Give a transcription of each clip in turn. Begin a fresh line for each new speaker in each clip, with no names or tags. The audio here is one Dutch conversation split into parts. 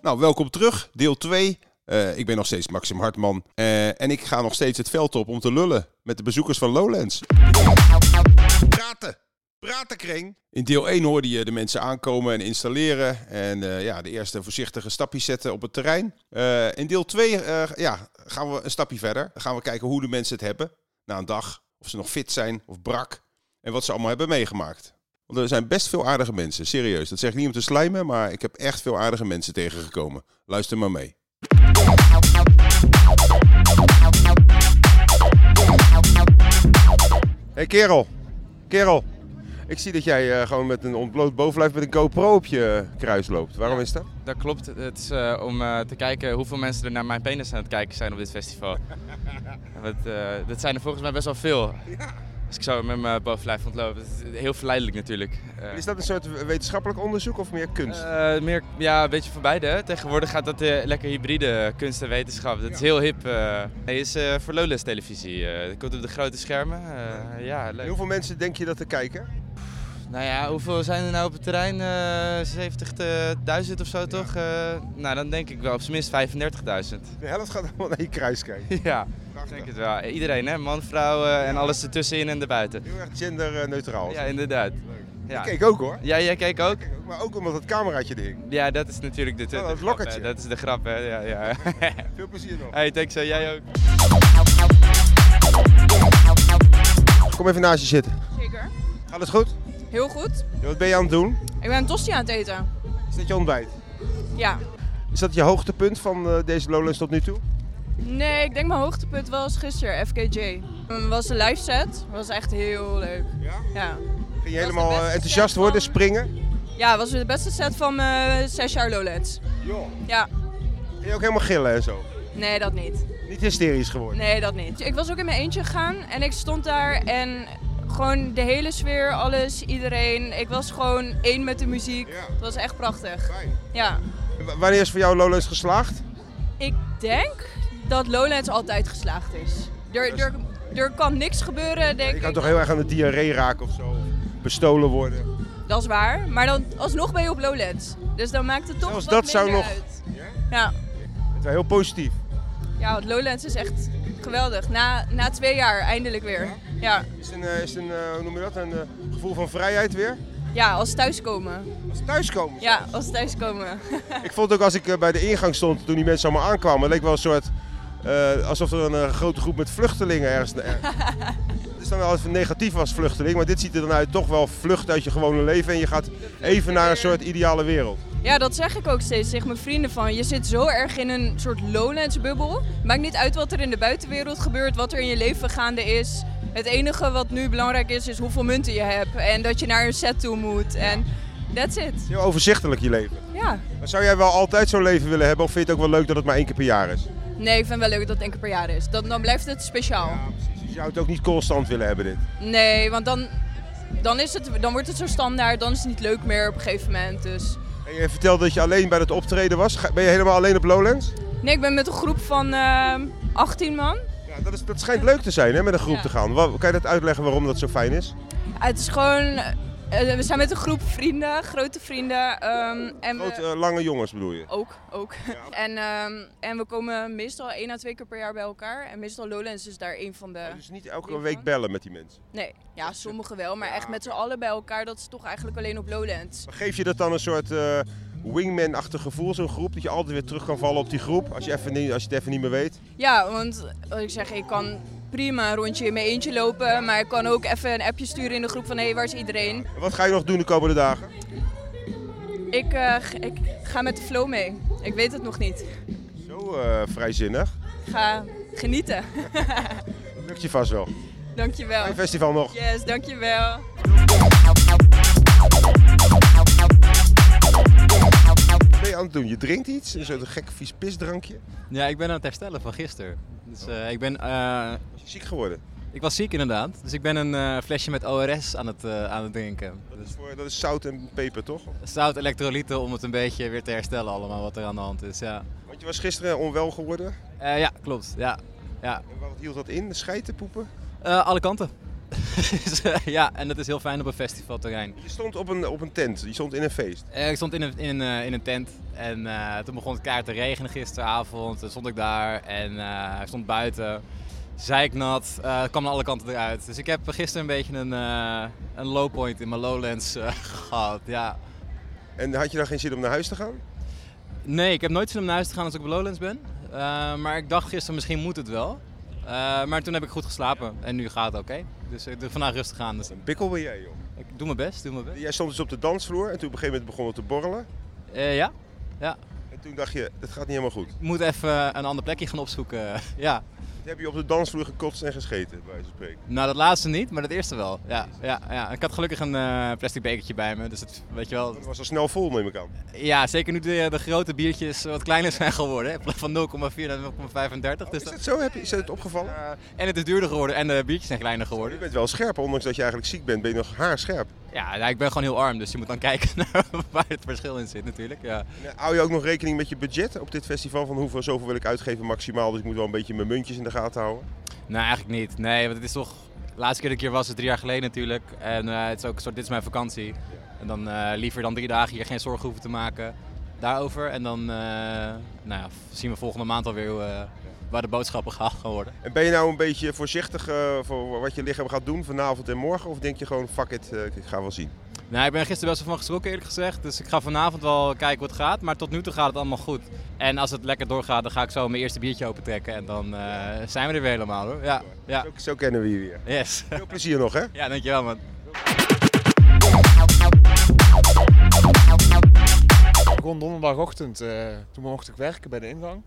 Nou, welkom terug, deel 2. Eh, ik ben nog steeds Maxim Hartman. Eh, en ik ga nog steeds het veld op om te lullen met de bezoekers van Lowlands. Praten! Pratenkring. In deel 1 hoorde je de mensen aankomen en installeren. En eh, ja, de eerste voorzichtige stapjes zetten op het terrein. Eh, in deel 2 eh, ja, gaan we een stapje verder. Dan gaan we kijken hoe de mensen het hebben na een dag. Of ze nog fit zijn of brak. En wat ze allemaal hebben meegemaakt. Want er zijn best veel aardige mensen, serieus. Dat zeg ik niet om te slijmen, maar ik heb echt veel aardige mensen tegengekomen. Luister maar mee. Hey kerel, kerel. Ik zie dat jij eh, gewoon met een ontbloot bovenlijf met een GoPro op je eh, kruis loopt. Waarom is dat?
Dat klopt. Het is eh, om eh, te kijken hoeveel mensen er naar mijn penis aan het kijken zijn op dit festival. Want, eh, dat zijn er volgens mij best wel veel. Als ik zo met mijn bovenlijf ontloop. Dat is heel verleidelijk natuurlijk. Eh,
Is dat een soort wetenschappelijk onderzoek of meer kunst?
eh, meer, ja, een beetje van beide. hè. Tegenwoordig gaat dat eh, lekker hybride eh, kunst en wetenschap. Dat is heel hip. eh. Nee, is eh voor Lowlands televisie. eh. dat komt op de grote schermen. Eh, ja,
En
leuk.
hoeveel mensen denk je dat er kijken?
Nou ja, hoeveel zijn er nou op het terrein? Eh 70.000 of zo toch? Eh, nou, dan denk ik wel op zijn minst 35.000.
De helft gaat allemaal naar je kruis kijken.
Ja, ik
Prachtig.
denk het wel. Iedereen, hè? Man, vrouw eh, en alles ertussenin en erbuiten.
Heel erg genderneutraal.
Ja, inderdaad. Ja.
Ik keek ook hoor.
Ja, jij keek ook?
Maar ook omdat het cameraatje er hing.
Ja, dat is natuurlijk de
Oh,
Twitter.
dat lokkertje.
Dat is de grap, hè? Ja, ja.
Veel plezier nog.
hey, thanks, eh, jij ook.
Kom even naast je zitten.
Zeker.
Alles goed?
Heel goed.
Wat ben je aan het doen?
Ik ben een tosti aan het eten.
Is dat je ontbijt?
Ja.
Is dat je hoogtepunt van eh, deze Lowlands tot nu toe?
Nee, ik denk mijn hoogtepunt was gisteren, FKJ. Het was een live set. was echt heel leuk.
Ja.
Ja.
Ging je
de
helemaal eh,
beste
enthousiast
set
worden,
van-
springen?
Ja, het was de beste set van mijn zes jaar Lowlands.
Joh.
Ja.
Ging je ook helemaal gillen en zo?
Nee, dat niet.
Niet hysterisch geworden?
Nee, dat niet. Ik was ook in mijn eentje gegaan en ik stond daar en gewoon de hele sfeer, alles, iedereen. Ik was gewoon één met de muziek.
Ja.
Het was echt prachtig.
Fijn.
Ja.
W- wanneer is voor jou Lowlands geslaagd?
Ik denk dat Lowlands altijd geslaagd is. Er, er, er kan niks gebeuren, denk
je
ik.
kan toch heel erg aan de diarree raken of zo? of Bestolen worden.
Dat is waar. Maar dan alsnog ben je op Lowlands. Dus dan maakt het toch
Zelfs
wat
dat zou
minder
nog-
uit.
Ja?
Ja.
Het is wel heel positief.
ja, want Lowlands is echt geweldig. Na, na twee jaar eindelijk weer. Ja,
Is het een, eh, is het een eh, hoe noem je dat, een eh, gevoel van vrijheid weer?
ja als thuiskomen.
Als het thuiskomen.
Ja, als thuiskomen.
Ik vond ook als ik eh, bij de ingang stond toen die mensen allemaal aankwamen, het leek wel een soort eh, alsof er een eh, grote groep met vluchtelingen ergens. er- Het is dan wel even negatief als vluchteling, maar dit ziet er dan uit toch wel vlucht uit je gewone leven en je gaat even naar een soort ideale wereld.
Ja, dat zeg ik ook steeds tegen mijn vrienden van. Je zit zo erg in een soort Lowlands-bubbel. Maakt niet uit wat er in de buitenwereld gebeurt, wat er in je leven gaande is. Het enige wat nu belangrijk is, is hoeveel munten je hebt. En dat je naar een set toe moet. En that's it.
Heel overzichtelijk je leven.
Ja.
Maar zou jij wel altijd zo'n leven willen hebben of vind je het ook wel leuk dat het maar één keer per jaar is?
Nee, ik vind wel leuk dat het één keer per jaar is. Dan, dan blijft het speciaal.
precies. Dus je zou het ook niet constant willen hebben dit.
Nee, want dan, dan, is het, dan wordt het zo standaard. Dan is het niet leuk meer op een gegeven moment. Dus.
En je vertelde dat je alleen bij het optreden was. Ga- Ben je helemaal alleen op Lowlands?
Nee, ik ben met een groep van ehm 18 man.
Ja, dat, is, dat schijnt leuk te zijn hè, met een groep
Ja.
te gaan. Wa- Kan je dat uitleggen waarom dat zo fijn is?
Het is gewoon. eh, we zijn met een groep vrienden, grote vrienden. ehm, en we-
Grote, eh, lange jongens bedoel je?
ook, ook. En, ehm, en we komen meestal één à twee keer per jaar bij elkaar. En meestal Lowlands is daar één van de.
Dus niet elke
Hiervan?
week bellen met die mensen.
Nee, ja, sommigen wel. Maar echt met z'n allen bij elkaar, dat is toch eigenlijk alleen op Lowlands.
Maar geef je dat dan een soort eh, wingman-achtig gevoel, zo'n groep, dat je altijd weer terug kan vallen op die groep als je, even niet, als je het even niet meer weet?
Ja, want wat ik zeg, ik kan prima een rondje in mijn eentje lopen. Maar ik kan ook even een appje sturen in de groep van hé, hey, waar is iedereen?
En wat ga je nog doen de komende dagen?
Ik, eh, g- ik ga met de flow mee. Ik weet het nog niet.
Zo eh, vrijzinnig.
Ik ga genieten.
Dat lukt je vast wel.
Dankjewel.
Fijn festival nog.
Yes, dankjewel.
Wat ben je aan het doen? Je drinkt iets? Een soort gek vies pisdrankje?
Ja, ik ben aan het herstellen van gisteren. Dus eh, ik ben... eh,
Oh. Was je ziek geworden?
ik was ziek inderdaad. Dus ik ben een eh, flesje met ORS aan het, eh, aan het drinken.
Dat
Dus
is, voor, dat is zout en peper, toch?
zout elektrolyten om het een beetje weer te herstellen allemaal wat er aan de hand is. Ja,
Want je was gisteren onwel geworden.
Eh, ja klopt. Ja. Ja.
En wat hield dat in? De scheiten poepen?
Eh, alle kanten. Dus, eh, ja, en dat is heel fijn op een festivalterrein.
Je stond op een, op een tent, je stond in een feest.
Eh, ik stond in een, in, een, in een tent en eh, toen begon het kaart te regenen gisteravond. Toen stond ik daar en eh, ik stond buiten. Zeiknat, eh kwam aan alle kanten eruit. Dus ik heb gisteren een beetje een, eh, een low point in mijn lowlands eh, gehad. Ja.
En had je dan geen zin om naar huis te gaan?
Nee, ik heb nooit zin om naar huis te gaan als ik op Lowlands ben. Eh, maar ik dacht gisteren, misschien moet het wel. Eh, maar toen heb ik goed geslapen en nu gaat het oké. Dus ik doe vandaag rustig aan. Dus
Een pikkel ben jij, joh.
ik doe mijn best, doe mijn best.
Jij stond dus op de dansvloer en toen op een gegeven moment begon het te borrelen.
Eh, ja, ja.
En toen dacht je, dat gaat niet helemaal goed.
Ik moet even een ander plekje gaan opzoeken. ja.
Toen heb je op de dansvloer gekotst en gescheten, bij wijze van spreken.
Nou, dat laatste niet, maar dat eerste wel. Ja, ja, ja. Ik had gelukkig een eh, plastic bekertje bij me, dus het, weet je wel.
Dat was al snel vol, neem ik aan.
Ja, zeker nu de, de grote biertjes wat kleiner zijn geworden. hè. Van 0,4 naar 0,35. Dus
Is
dat-
dat zo? Heb je, is dat opgevallen?
eh, en het is duurder geworden en de biertjes zijn kleiner
Je
geworden.
bent wel scherp, ondanks dat je eigenlijk ziek bent, ben je nog haarscherp.
Ja, nou, ik ben gewoon heel arm, dus je moet dan kijken naar waar het verschil in zit natuurlijk. Ja.
En, eh, hou je ook nog rekening met je budget op dit festival? Van hoeveel, zoveel wil ik uitgeven maximaal, dus ik moet wel een beetje mijn muntjes in de gaten houden.
Nou, eigenlijk niet. Nee, want het is toch... De laatste keer dat ik hier was, is drie jaar geleden natuurlijk. En eh, het is ook een soort, dit is mijn vakantie. En dan eh, liever dan drie dagen hier geen zorgen hoeven te maken daarover. En dan eh, nou ja, zien we volgende maand alweer hoe, eh, waar de boodschappen gehaald gaan worden.
En ben je nou een beetje voorzichtig eh, voor wat je lichaam gaat doen vanavond en morgen? Of denk je gewoon, fuck it, eh, ik ga wel zien?
Nou, ik ben er gisteren best wel van geschrokken eerlijk gezegd. Dus ik ga vanavond wel kijken hoe het gaat. Maar tot nu toe gaat het allemaal goed. En als het lekker doorgaat, dan ga ik zo mijn eerste biertje opentrekken. En dan eh, zijn we er weer helemaal hoor. Ja, ja.
Zo, zo kennen we je weer.
Yes.
Veel plezier nog, hè?
ja, dankjewel man.
begon donderdagochtend. eh, toen mocht ik werken bij de ingang.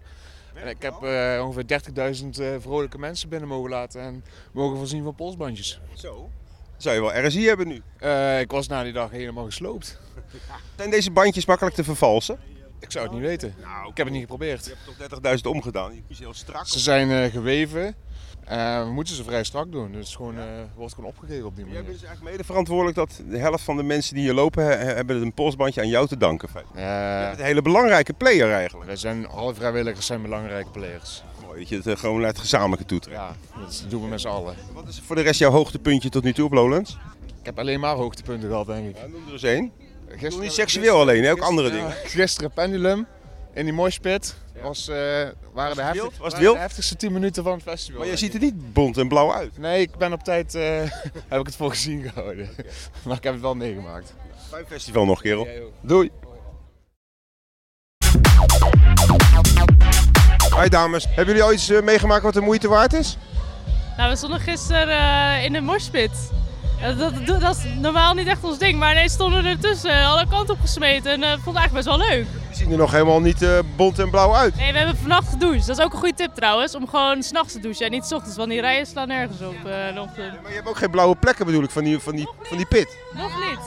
En ik heb eh, ongeveer 30.000 eh, vrolijke mensen binnen mogen laten en mogen voorzien van polsbandjes.
Zo. Zou je wel RSI hebben nu?
Eh, ik was na die dag helemaal gesloopt.
Zijn deze bandjes makkelijk te vervalsen? Nou,
Ik zou het niet weten. Ik heb het niet geprobeerd.
Je hebt toch 30.000 omgedaan? Je kiest heel strak.
Ze zijn eh, geweven. Eh, we moeten ze vrij strak doen. Dus het is gewoon, eh, wordt gewoon opgegeven op die
Jij bent
manier.
dus eigenlijk mede verantwoordelijk dat de helft van de mensen die hier lopen, he- hebben het een polsbandje aan jou te danken. Fijn. Je
Eh
bent een hele belangrijke player eigenlijk.
wij zijn, alle vrijwilligers zijn belangrijke players.
Mooi dat je het eh, gewoon naar het gezamenlijke toetrekt.
Ja, dat doen we met z'n allen.
Wat is voor de rest jouw hoogtepuntje tot nu toe op Lowlands?
Ik heb alleen maar hoogtepunten gehad, denk ik.
Ja, noem er eens één.
Gisteren,
niet seksueel alleen, hè, ook andere dingen.
Gisteren pendulum in die moshpit. Was, eh, waren de,
het
heftig,
wild? Was het
waren
wild?
de heftigste 10 minuten van het festival.
Maar jij
denk
ziet er
ik.
niet bont en blauw uit.
Nee, ik ben op tijd, eh, heb ik het voor gezien gehouden. maar ik heb het wel meegemaakt.
Fijn festival nog, kerel.
Jij ook.
Doei. Hi dames, hebben jullie al iets eh, meegemaakt wat de moeite waard is?
Nou, we stonden gisteren eh, in de morspit. Dat, dat, dat is normaal niet echt ons ding, maar ineens stonden we ertussen, eh, alle kanten op gesmeten en eh, ik vond het eigenlijk best wel leuk.
Die zien er nog helemaal niet eh, bont en blauw uit.
Nee, we hebben vannacht gedoucht. Dat is ook een goede tip trouwens, om gewoon s'nachts te douchen en niet s ochtends, want die rijen slaan nergens op eh, in de ochtend.
Maar je hebt ook geen blauwe plekken bedoel ik van die, van die, van die pit.
Nog niet.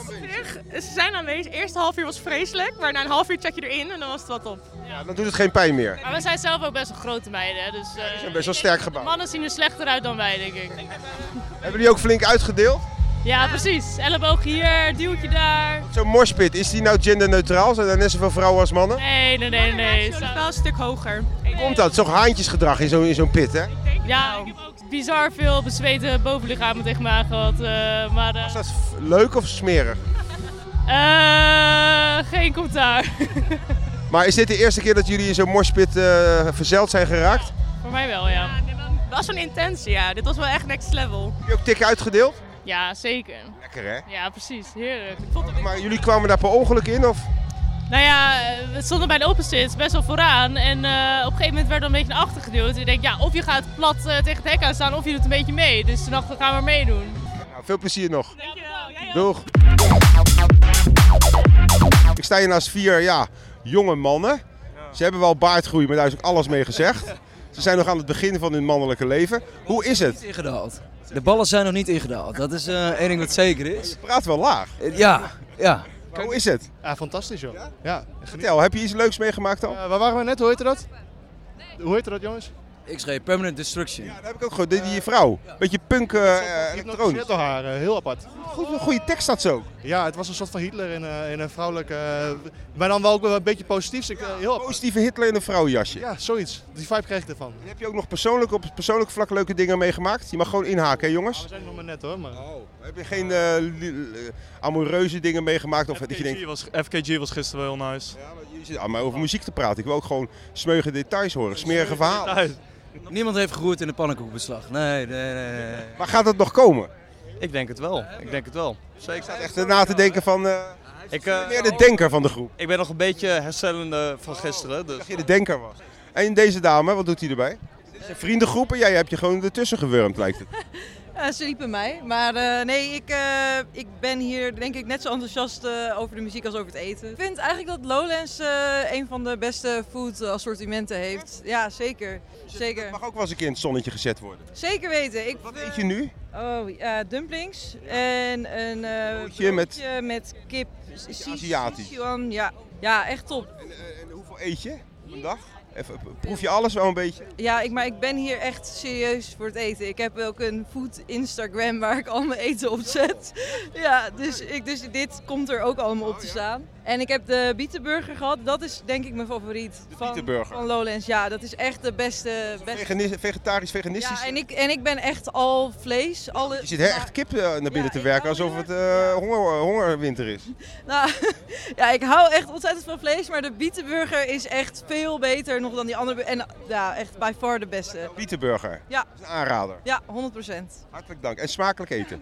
Ze zijn aanwezig. Eerste half uur was vreselijk, maar na een half uur check je erin en dan was het wat op.
Ja, dan doet het geen pijn meer.
Maar we zijn zelf ook best wel grote meiden, hè, dus... eh,
zijn best wel sterk gebouwd.
Mannen zien er slechter uit dan wij, denk ik.
Hebben jullie ook flink uitgedeeld?
Ja, precies. Elleboog hier, duwtje daar.
Zo'n morspit, is die nou genderneutraal? Zijn er net zoveel vrouwen als mannen?
Nee, nee,
Oh,
nee, nee.
wel een stuk hoger.
Komt dat? Zo'n haantjesgedrag in zo'n in zo'n pit, hè?
Ja,
Nou.
ik heb ook bizar veel bezweten bovenlichamen tegen me aan gehad. eh, maar eh,
Is dat f- leuk of smerig?
eh, geen commentaar.
Maar is dit de eerste keer dat jullie in zo'n morspit eh, verzeild zijn geraakt?
Voor mij wel, ja.
Het was een intense, ja. Dit was wel echt next level.
Heb je ook tik uitgedeeld?
Ja, zeker.
Lekker, hè?
Ja, precies. Heerlijk.
Maar jullie kwamen daar per ongeluk in, of?
Nou ja, eh, we stonden bij de opposite best wel vooraan. En eh, op een gegeven moment werd er een beetje naar achter geduwd. Ik denk, ja, of je gaat plat eh, tegen het hek aan staan of je doet een beetje mee. Dus toen dachten we, gaan we maar meedoen.
Nou, veel plezier nog.
Dankjewel.
Doeg. Ik sta hier naast vier ja, jonge mannen. Ze hebben wel baardgroei, maar daar is ook alles mee gezegd. Ze zijn nog aan het begin van hun mannelijke leven. Hoe is het?
ingedaald. De ballen zijn nog niet ingedaald. Dat is eh één ding wat zeker is.
Je praat wel laag.
Eh, Ja, ja.
Maar hoe is het?
Ah,
Ja, fantastisch joh. Ja?
Vertel, heb je iets leuks meegemaakt al?
Eh, waar waren we net? Hoe heette dat? Hoe heette dat jongens?
X-ray Permanent Destruction.
Ja, dat heb ik ook gehoord. Die, die vrouw. Beetje punk eh, eh,
Hypnotiseert
elektronisch.
door haar, eh, heel apart.
Goed, een goede tekst had ze ook.
Ja, het was een soort van Hitler in, eh, in een vrouwelijke... eh, maar dan wel ook wel een beetje positiefs. Ik, eh, heel,
Positieve Hitler in een vrouwenjasje.
ja, zoiets. Die vibe kreeg ik ervan.
En heb je ook nog persoonlijk op het persoonlijk vlak leuke dingen meegemaakt? Je mag gewoon inhaken, hè, jongens?
we zijn nog maar net hoor, maar...
Oh. Heb je geen eh, li- eh, amoureuze dingen meegemaakt? Of dat je denkt,
was, FKG was gisteren wel nice.
ja, maar je zit aan mij over muziek te praten. Ik wil ook gewoon smeuige details horen, smerige verhalen.
Niemand heeft geroerd in de pannenkoekbeslag. Nee, nee, nee. nee, nee.
Maar gaat dat nog komen?
Ik denk het wel. Ik denk het wel.
Ik sta echt na te denken van... eh,
Ik, eh,
meer de denker van de groep.
ik ben nog een beetje herstellende van gisteren. Dus.
Dat je de denker was. En deze dame, wat doet hij erbij? Dit is een vriendengroep en jij hebt je gewoon ertussen gewurmd, lijkt het.
Eh, ze liepen mij. Maar eh, nee, ik, eh, ik ben hier denk ik net zo enthousiast eh, over de muziek als over het eten. Ik vind eigenlijk dat Lowlands eh, een van de beste food assortimenten heeft. Ja, zeker. Zeker.
Dus Het mag ook wel eens een keer in het zonnetje gezet worden.
Zeker weten. Ik,
Wat eet je nu?
Oh, ja, dumplings. En een eh
Broodje met-
broodje met kip. Si-
Aziatisch.
Sichuan, ja. ja, echt top.
En, eh, en hoeveel eet je op een dag? Even, eh, proef je alles wel een beetje?
Ja, ik, maar ik ben hier echt serieus voor het eten. Ik heb ook een food Instagram waar ik al mijn eten op zet. Ja, dus, ik, dus dit komt er ook allemaal
Oh,
op te staan. En ik heb de bietenburger gehad. Dat is denk ik mijn favoriet.
De
van,
bietenburger.
van Lowlands. Ja, dat is echt de beste. beste.
Veganis- vegetarisch, veganistisch?
Ja, en ik, en ik ben echt al vlees. Alle,
Je zit hè, echt kip eh, naar binnen
Ja,
te
ik
werken
hou
alsof
heel
het
erg-
eh,
ja.
honger, hongerwinter is.
Nou, ja, ik hou echt ontzettend van vlees. Maar de bietenburger is echt veel beter nog dan die andere. bu- En ja, echt by far de beste.
Pieterburger.
Ja.
Dat is een aanrader.
Ja, 100 procent.
Hartelijk dank en smakelijk eten.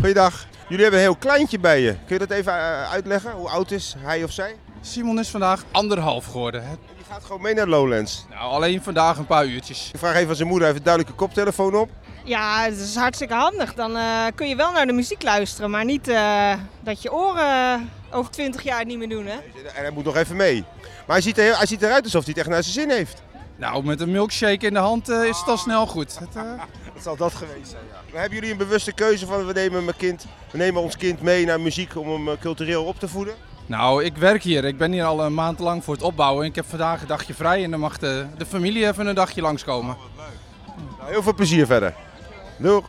Goeiedag. Jullie hebben een heel kleintje bij je. Kun je dat even eh, uitleggen? Hoe oud is hij of zij?
Simon is vandaag anderhalf geworden. hè.
Die gaat gewoon mee naar Lowlands.
Nou, alleen vandaag een paar uurtjes.
Ik vraag even aan zijn moeder, even duidelijk een koptelefoon op.
Ja, het is hartstikke handig. Dan eh, kun je wel naar de muziek luisteren, maar niet eh, dat je oren over 20 jaar het niet meer doen, hè?
En hij moet nog even mee. Maar hij ziet, er heel- hij ziet eruit alsof hij het echt naar zijn zin heeft.
Nou, met een milkshake in de hand eh, is het al snel goed. Het, eh,
Dat zal dat geweest zijn, ja. Maar hebben jullie een bewuste keuze van we nemen, mijn kind, we nemen ons kind mee naar muziek om hem eh, cultureel op te voeden?
Nou, ik werk hier. Ik ben hier al een maand lang voor het opbouwen. Ik heb vandaag een dagje vrij en dan mag de, de familie even een dagje langskomen.
Nou, heel veel plezier verder. Doeg.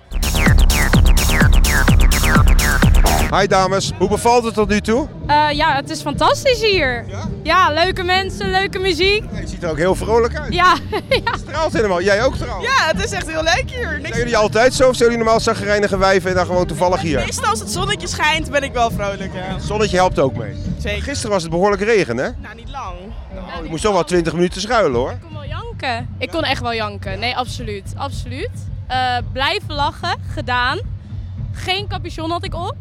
Hi dames, hoe bevalt het tot nu toe?
Eh, ja, het is fantastisch hier. Ja? leuke mensen, leuke muziek.
Je ziet er ook heel vrolijk uit.
Ja,
Straalt helemaal. Jij ook trouwens.
Ja, het is echt heel leuk hier.
Zijn jullie altijd zo of zijn jullie normaal zagrijnige wijven en dan gewoon toevallig hier?
Meestal als het zonnetje schijnt ben ik wel vrolijk, ja.
Zonnetje helpt ook mee.
Zeker.
Gisteren was het behoorlijk regen hè?
Nou, niet lang.
Oh, je moest toch wel 20 minuten schuilen hoor.
kon wel janken. Ik kon echt wel janken. Nee, absoluut. Absoluut. Eh, blijven lachen, gedaan. Geen capuchon had ik op.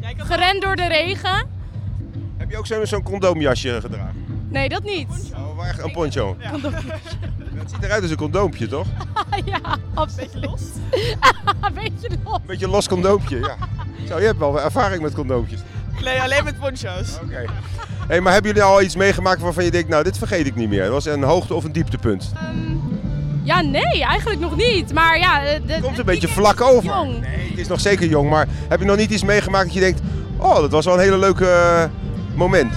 Jij kan
Gerend door de regen.
Heb je ook zo- zo'n condoomjasje gedragen?
Nee, dat niet.
Oh, wel echt een poncho. Het ziet eruit als een condoompje toch?
Oh.
ja, absoluut. Beetje los.
Een beetje los condoompje, ja. Zo, je hebt wel ervaring met condoompjes.
Nee, alleen met poncho's.
Oké. Hey, maar hebben jullie al iets meegemaakt waarvan je denkt, nou dit vergeet ik niet meer. Dat was een hoogte of een dieptepunt.
Eh.
Ja, nee, eigenlijk nog niet. Maar ja, eh, de-
Het komt een
het
beetje
weekend
vlak
is
over.
jong.
Nee, het is nog zeker jong, maar heb je nog niet iets meegemaakt dat je denkt, oh dat was wel een hele leuke eh, moment.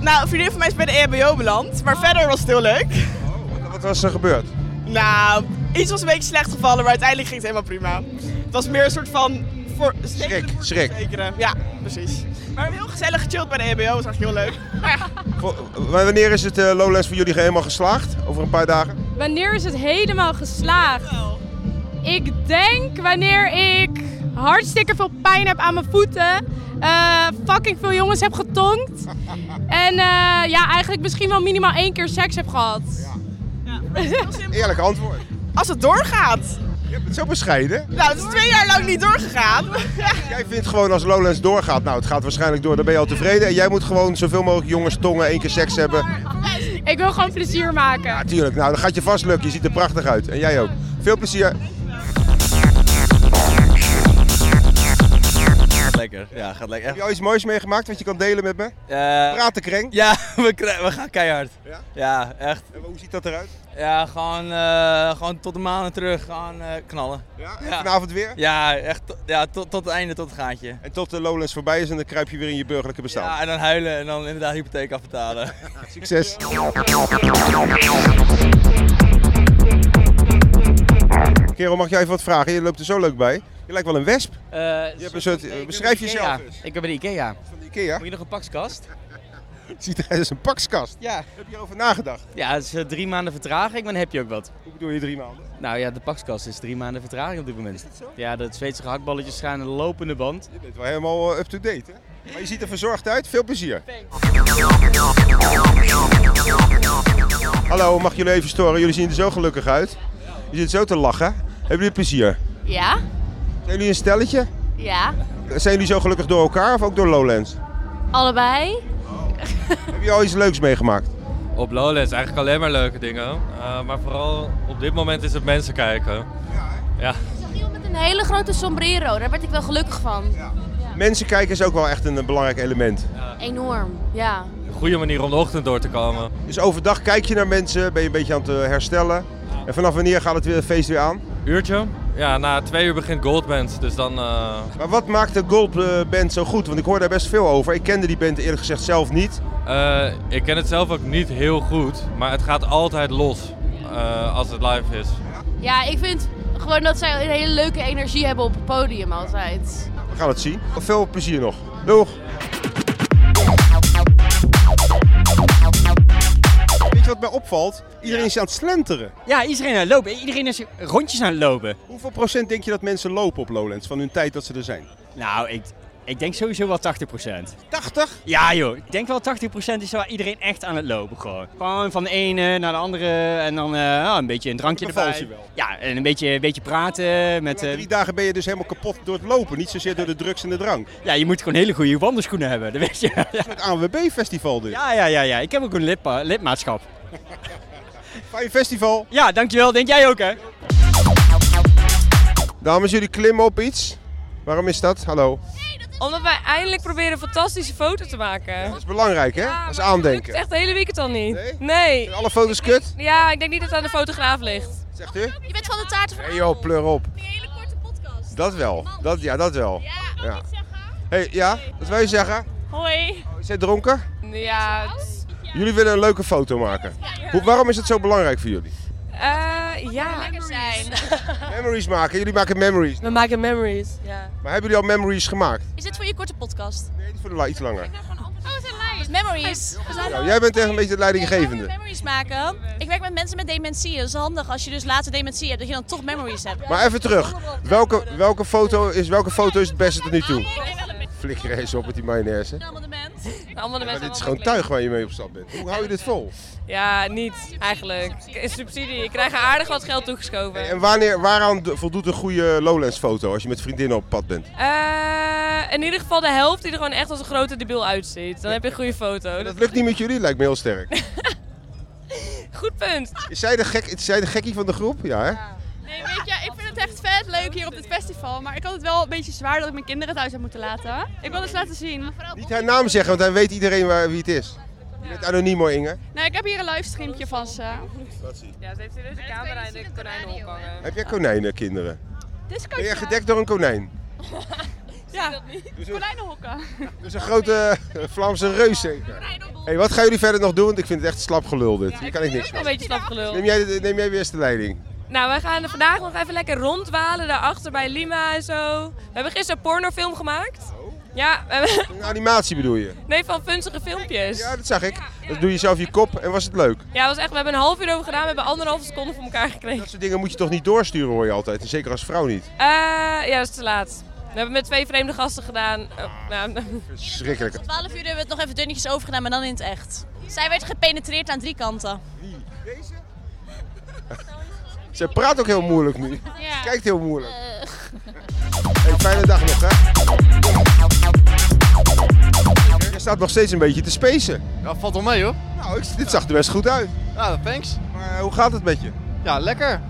Nou, een vriendin van mij is bij de EHBO beland, maar verder was het heel leuk.
Wat, wat was er gebeurd?
Nou, iets was een beetje slecht gevallen, maar uiteindelijk ging het helemaal prima. Het was meer een soort van... Voor,
Schrik,
voor-
schrik.
verzekeren. Ja, precies. Maar heel gezellig gechilled bij de E EHBO, was echt heel leuk.
Vo- maar wanneer is het eh, Lowlands voor jullie helemaal geslaagd? Over een paar dagen?
Wanneer is het helemaal geslaagd? Ik denk wanneer ik hartstikke veel pijn heb aan mijn voeten. eh, fucking veel jongens heb getonkt. En eh, ja, eigenlijk misschien wel minimaal één keer seks heb gehad.
Eerlijk antwoord.
Als het doorgaat.
Je hebt het zo bescheiden.
Nou, het is twee jaar lang niet doorgegaan.
Jij vindt gewoon als Lowlands doorgaat, nou het gaat waarschijnlijk door, dan ben je al tevreden. En jij moet gewoon zoveel mogelijk jongens tongen, één keer seks hebben.
Ik wil gewoon plezier maken.
Natuurlijk, nou dat gaat je vast lukken. Je ziet er prachtig uit. En jij ook. Veel plezier.
Gaat lekker. Ja, gaat lekker.
Heb je al iets moois meegemaakt wat je kan delen met me?
Eh,
Praten, Kreng.
ja, we, krij- we gaan keihard.
Ja?
Ja, echt.
En Hoe ziet dat eruit?
Ja, gewoon, eh, gewoon tot de maanden terug. Gewoon eh, knallen.
Ja? en
Ja.
Vanavond weer?
Ja, echt. to- Ja, tot, tot het einde, tot het gaatje.
En tot de Lowlands voorbij is en dan kruip je weer in je burgerlijke bestaan.
Ja, en dan huilen en dan inderdaad hypotheek afbetalen.
Succes. Kerel, mag jij even wat vragen? Je loopt er zo leuk bij. Je lijkt wel een wesp.
Eh,
je hebt een soort,
ik ben
beschrijf
bij
jezelf
Ikea.
eens.
Ik ben bij de Ikea.
Van de Ikea?
Moet je nog een pakskast?
Het ziet eruit als een pakskast.
Ja.
Heb je over nagedacht?
Ja, het is eh, drie maanden vertraging, maar dan heb je ook wat.
Hoe bedoel je drie maanden?
Nou ja, de pakskast is drie maanden vertraging op dit moment. Ja, de Zweedse gehaktballetjes gaan een lopende band.
Je bent wel helemaal eh, up-to-date, hè? Maar je ziet er verzorgd uit. Veel plezier. Hallo, mag ik jullie even storen? Jullie zien er zo gelukkig uit. Je zit zo te lachen. Hebben jullie plezier?
Ja?
Zijn jullie een stelletje?
Ja.
Zijn jullie zo gelukkig door elkaar of ook door Lowlands?
Allebei?
Heb je al iets leuks meegemaakt?
Op Lowlands eigenlijk alleen maar leuke dingen. Eh, maar vooral op dit moment is het mensen kijken. Ja.
Met een hele grote sombrero, daar werd ik wel gelukkig van.
Mensen kijken is ook wel echt een eh, belangrijk element.
Enorm, ja.
Een goede manier om de ochtend door te komen.
Dus overdag kijk je naar mensen, ben je een beetje aan het eh, herstellen. En vanaf wanneer gaat het weer, feest weer aan?
Uurtje? Ja, na twee uur begint Goldband. Dus dan. eh,
Maar wat maakt de Gold eh, Band zo goed? Want ik hoor daar best veel over. Ik kende die band eerlijk gezegd zelf niet.
eh, ik ken het zelf ook niet heel goed. Maar het gaat altijd los eh, als het live is.
Ja, ik vind gewoon dat zij een hele leuke energie hebben op het podium altijd.
We gaan het zien. Veel plezier nog. Doeg! Weet je wat mij opvalt? Iedereen is aan het slenteren.
Ja, iedereen aan het lopen. Iedereen is rondjes aan het lopen.
Hoeveel procent denk je dat mensen lopen op Lowlands van hun tijd dat ze er zijn?
Nou, ik, ik denk sowieso wel 80%.
80?
Ja joh, ik denk wel 80% is wel iedereen echt aan het lopen gewoon. Gewoon van de ene naar de andere en dan eh, nou, een beetje een drankje
Dat
erbij.
bevalt je wel.
Ja, en een beetje, een beetje praten met... eh,
Drie dagen ben je dus helemaal kapot door het lopen, niet zozeer door de drugs en de drank.
ja, je moet gewoon hele goede wandelschoenen hebben, dat weet je.
Het is een ANWB-festival dus.
Ja, ja, ja, ja. Ik heb ook een lidpa- lidmaatschap.
Fijn festival.
Ja, dankjewel. Denk jij ook, hè?
Dames, jullie klimmen op iets. Waarom is dat? Hallo. Dat
Omdat wij eindelijk proberen een fantastische foto te maken.
is belangrijk, hè? dat is aandenken.
Het echt de hele weekend al niet. Nee?
Zijn alle foto's kut?
Ja, ik denk niet dat het aan de fotograaf ligt.
Zegt u?
Je bent van de taart
Nee joh, pleur op. Die hele korte podcast. Dat wel. Dat, ja, dat wel. Ja, Hey, ja, wat wil je zeggen?
Hoi.
Is hij dronken?
Ja, het-
Jullie willen een leuke foto maken. Hoe, waarom is het zo belangrijk voor jullie?
eh, ja. Lekker zijn.
Memories maken. Jullie maken memories.
We maken memories. Ja.
Maar hebben jullie al memories gemaakt?
Is dit voor je korte podcast?
Nee, voor de la- iets langer.
Oh, het zijn lijst. Memories. We zijn
Nou, jij bent echt een beetje de leidinggevende.
memories maken. Ik werk met mensen met dementie. Dat is handig als je dus later dementie hebt, dat je dan toch memories hebt.
Maar even terug. Welke, welke, foto, is, welke foto is het beste tot nu toe? Flikker eens op met die mayonaise.
Allemaal de mensen. Allemaal de
Maar
mensen.
dit is gewoon tuig waar je mee op stap bent. Hoe hou je dit vol?
Ja, niet eigenlijk. K- Subsidie. Ik krijg aardig wat geld toegeschoven.
En wanneer, waaraan de- voldoet een goede Lowlands foto als je met vriendinnen op pad
Oh,
bent?
Eh, in ieder geval de helft die er gewoon echt als een grote debiel uitziet. Dan heb je een goede foto.
Dat lukt niet met jullie, lijkt me heel sterk.
Goed punt.
Is zij de, gek, is zij de gekkie van de groep? Ja hè?
Nee, weet je, ik vind het echt vet leuk hier op dit festival. Maar ik had het wel een beetje zwaar dat ik mijn kinderen thuis heb moeten laten. Ik wil het laten zien.
Niet haar naam zeggen, want dan weet iedereen waar, wie het is. Je bent anoniem hoor Inge.
Nou, ik heb hier een livestreampje van ze.
Dat zie
Ja, ze heeft hier dus een camera in de konijnen ophangen.
Heb jij konijnenkinderen?
Dit is
Ben jij
Katja.
gedekt door een konijn?
Ja, konijnenhokken.
Dat is een grote eh, Vlaamse reus zeker. Hey, wat gaan jullie verder nog doen? Want ik vind het echt slap gelul dit. Hier kan ik niks
Een
mee.
beetje slapgelul.
Neem jij, de- neem jij weer eens de leiding.
Nou, wij gaan vandaag nog even lekker rondwalen daarachter bij Lima en zo. We hebben gisteren een pornofilm gemaakt.
Oh.
Ja, we hebben-
Een animatie bedoel je?
nee, van funzige filmpjes.
Ja, dat zag ik. Dat doe je zelf je kop en was het leuk.
Ja, was echt, we hebben een half uur over gedaan, we hebben anderhalve seconde voor elkaar gekregen.
Dat soort dingen moet je toch niet doorsturen hoor je altijd. En zeker als vrouw niet.
Eh, ja, dat is te laat. We hebben met twee vreemde gasten gedaan. Oh, nou,
Schrikkelijk.
12 uur hebben we het nog even dunnetjes overgedaan, maar dan in het echt. Zij werd gepenetreerd aan drie kanten.
Ze praat ook heel moeilijk nu.
Ja.
Ze kijkt heel moeilijk. Hey, fijne dag nog, hè? Je staat nog steeds een beetje te spacen.
Ja, valt wel mee hoor.
Nou, ik- dit zag er best goed uit.
Ja, thanks.
Maar eh, hoe gaat het met je?
Ja, lekker.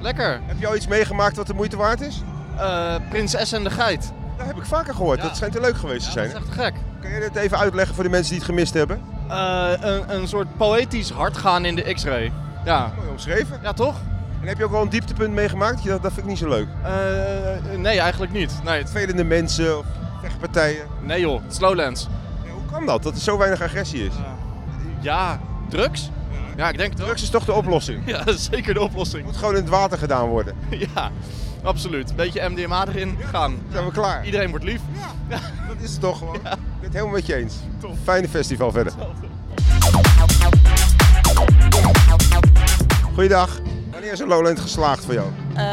Lekker.
Heb je al iets meegemaakt wat de moeite waard is?
Eh, Prinses en de Geit.
Dat heb ik vaker gehoord. Dat schijnt er leuk geweest te zijn.
Dat is echt gek.
Kun je dit even uitleggen voor de mensen die het gemist hebben?
Eh, een, een soort poëtisch hart gaan in de X-ray. Ja.
Mooi omschreven.
Ja, toch?
En heb je ook wel een dieptepunt meegemaakt? Dat, je dacht, dat vind ik niet zo leuk.
Eh, nee, eigenlijk niet. Nee, het...
Velende mensen of vechtpartijen.
Nee joh, het is Lowlands.
Hoe kan dat? Dat er zo weinig agressie is.
Ja, drugs? Ja, ik denk het wel.
Drugs is toch de oplossing?
Ja, dat is zeker de oplossing.
moet gewoon in het water gedaan worden.
Ja. Absoluut. Beetje MDMA erin gaan.
Zijn we klaar?
Iedereen wordt lief.
Dat is het toch gewoon. Ik ben het helemaal met je eens. Fijne festival verder. Goeiedag. Wanneer is een Lowland geslaagd voor jou?
Ehm,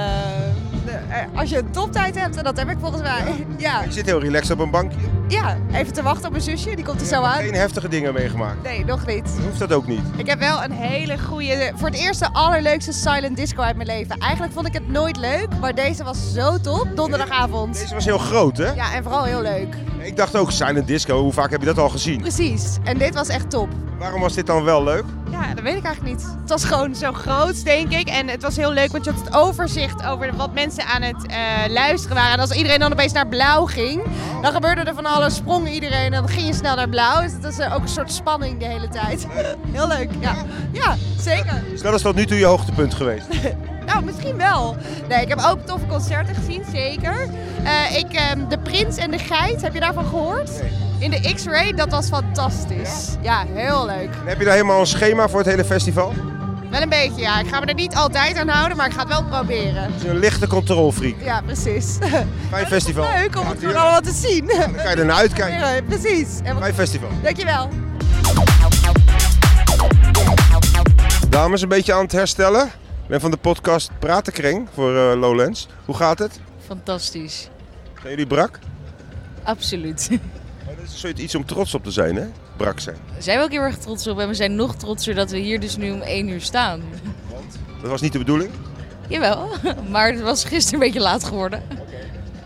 eh, als je een toptijd hebt, en dat heb ik volgens mij. Ja,
Ik zit heel relaxed op een bankje.
ja. even te wachten op mijn zusje, die komt er zo aan.
Geen heftige dingen meegemaakt.
Nee, nog niet.
Hoeft dat ook niet.
Ik heb wel een hele goede, voor het eerst de allerleukste silent disco uit mijn leven. Eigenlijk vond ik het nooit leuk, maar deze was zo top, donderdagavond. Deze
was heel groot, hè?
Ja, en vooral heel leuk.
Ik dacht ook, silent disco, hoe vaak heb je dat al gezien?
Precies, en dit was echt top.
Waarom was dit dan wel leuk?
Ja, dat weet ik eigenlijk niet. Het was gewoon zo groot, denk ik. En het was heel leuk, want je had het overzicht over wat mensen aan het eh, luisteren waren. En als iedereen dan opeens naar blauw ging, dan gebeurde er van alles. Sprong iedereen en dan ging je snel naar blauw. Dus dat is eh, ook een soort spanning de hele tijd. Heel leuk, ja. Ja, zeker.
Dus dat is tot nu toe je hoogtepunt geweest.
Nou, misschien wel. Nee, ik heb ook toffe concerten gezien, zeker. Eh, ik, ehm, de Prins en de Geit, heb je daarvan gehoord? In de X-Ray, dat was fantastisch. Ja, heel leuk.
En heb je daar helemaal een schema voor het hele festival?
Wel een beetje, ja. Ik ga me er niet altijd aan houden, maar ik ga het wel proberen.
Dus je een lichte controlfreak.
Ja, precies.
Fijn festival.
Leuk om
Ja,
het gewoon
tuurlijk.
allemaal te zien. Dan
kan je ernaar uitkijken.
Ja, precies. En
Fijn
wat-
festival.
Dankjewel.
Dames, een beetje aan het herstellen. Ik ben van de podcast Pratenkring voor eh, Lowlands. Hoe gaat het?
Fantastisch.
Zijn jullie brak?
Absoluut.
Dat is zoiets iets om trots op te zijn, hè? Brak zijn.
Daar zijn we ook heel erg trots op en we zijn nog trotser dat we hier dus nu om één uur staan.
Dat was niet de bedoeling.
Jawel, maar het was gisteren een beetje laat geworden.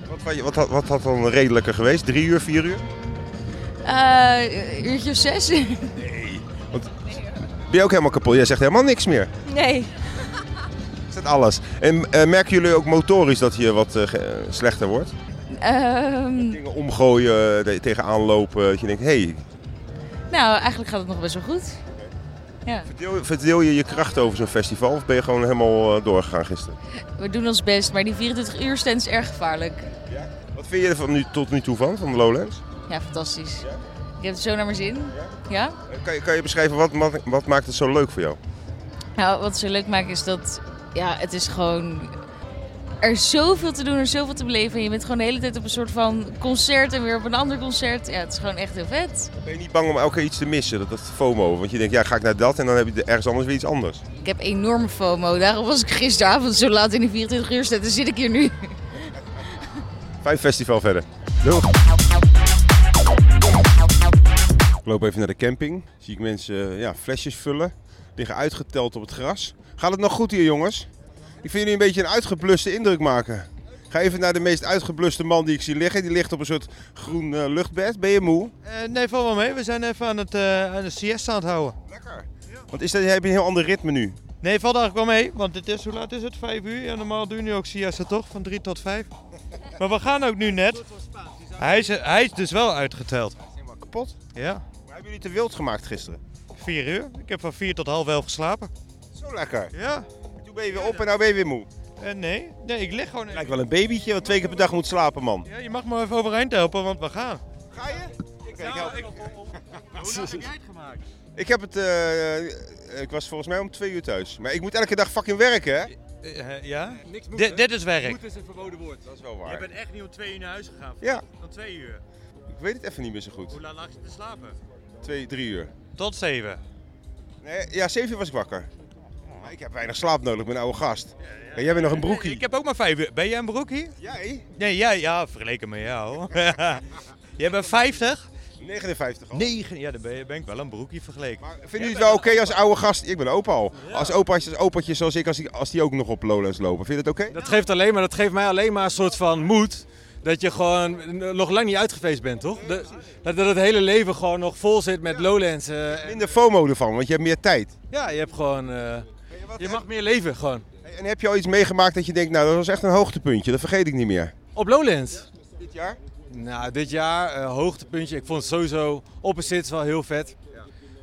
Wat, wa- wat, had- wat had dan redelijker geweest? Drie uur, vier uur?
Eh uurtje of zes?
Ben je ook helemaal kapot? Jij zegt helemaal niks meer.
Nee.
Is dat alles? En eh, merken jullie ook motorisch dat hier wat eh, ge- eh, slechter wordt?
Ehm,
Dingen omgooien, eh, tegenaan lopen. Dat je denkt, hé, hey,
nou, eigenlijk gaat het nog best wel goed. Ja.
verdeel- verdeel je je krachten over zo'n festival? Of ben je gewoon helemaal eh, doorgegaan gisteren?
We doen ons best, maar die 24 uur stand is erg gevaarlijk.
Wat vind je er van nu, tot nu toe van, van de Lowlands?
Ja, fantastisch. Ik heb het zo naar mijn zin. Ja?
Eh, Kan je, kan je beschrijven, wat, wat, wat maakt het zo leuk voor jou?
Nou, wat ze leuk maakt is dat ja, het is gewoon. Er is zoveel te doen, er is zoveel te beleven. En je bent gewoon de hele tijd op een soort van concert en weer op een ander concert. Ja, het is gewoon echt heel vet.
Ben je niet bang om elke keer iets te missen? Dat, dat FOMO. Want je denkt, ja, ga ik naar dat en dan heb je ergens anders weer iets anders.
Ik heb enorme FOMO. Daarom was ik gisteravond zo laat in die 24 uur zitten. Zit ik hier nu.
Fijn festival verder. Doeg. Ik loop even naar de camping. Zie ik mensen eh, ja, flesjes vullen. Liggen uitgeteld op het gras. Gaat het nog goed hier, jongens? Ik vind jullie een beetje een uitgebluste indruk maken. Ga even naar de meest uitgebluste man die ik zie liggen. Die ligt op een soort groen eh, luchtbed. Ben je moe?
Eh, nee, val wel mee. We zijn even aan het, eh, aan de siesta aan het houden. Lekker.
Want is dat, heb je een heel ander ritme nu?
Nee, valt eigenlijk wel mee. Want het is, hoe laat is het? Vijf uur? Ja, normaal doen we nu ook siesta toch? Van drie tot vijf. Maar we gaan ook nu net. Hij is, hij is dus wel uitgeteld.
Helemaal kapot.
Ja.
Maar hebben jullie te wild gemaakt gisteren?
Vier uur. Ik heb van vier tot half elf geslapen.
Zo lekker.
Ja.
Toen ben je weer op en nou ben je weer moe.
nee. Nee, ik lig gewoon...
Lijkt wel een babytje wat twee keer per dag moet slapen, man.
Ja, je mag me even overeind helpen, want we gaan.
Ga je? Ik,
nou, ik, Hoe laat heb jij het gemaakt?
Ik heb het... eh, ik was volgens mij om twee uur thuis. Maar ik moet elke dag fucking werken, hè?
Eh, ja?
Niks
Di-
moeten.
dit is werk.
Moeten
is een verboden woord. Dat is
wel waar.
Je bent echt niet om twee uur naar huis gegaan.
Ja.
Om twee uur.
Ik weet het even niet meer zo goed.
Hoe laat lag je te slapen?
Twee, drie uur.
Tot zeven.
Nee, ja, zeven uur was ik wakker. Maar ik heb weinig slaap nodig, ik ben een oude gast. En jij bent nog een broekie.
Ik heb ook maar vijf uur. Ben jij een broekie?
Jij?
Nee, jij. Ja, vergeleken met jou. jij bent 50?
59
al. 9, ja, dan ben, je- ben ik wel een broekie vergeleken.
Vinden jullie het wel oké als oude gast? Ik ben opa al. Als opa's, als opa's zoals ik, als die, als die ook nog op Lowlands lopen. Vind je dat oké?
Dat geeft, alleen maar, dat geeft mij alleen maar een soort van moed. Dat je gewoon nog lang niet uitgefeest bent, toch? Dat, dat dat het hele leven gewoon nog vol zit met Lowlands. eh, en-
Minder FOMO ervan, want je hebt meer tijd.
ja, je hebt gewoon... eh, je mag meer leven, gewoon.
En heb je al iets meegemaakt dat je denkt, nou dat was echt een hoogtepuntje, dat vergeet ik niet meer.
Op Lowlands?
Dit jaar?
Nou, dit jaar eh, hoogtepuntje. Ik vond het sowieso opposites wel heel vet.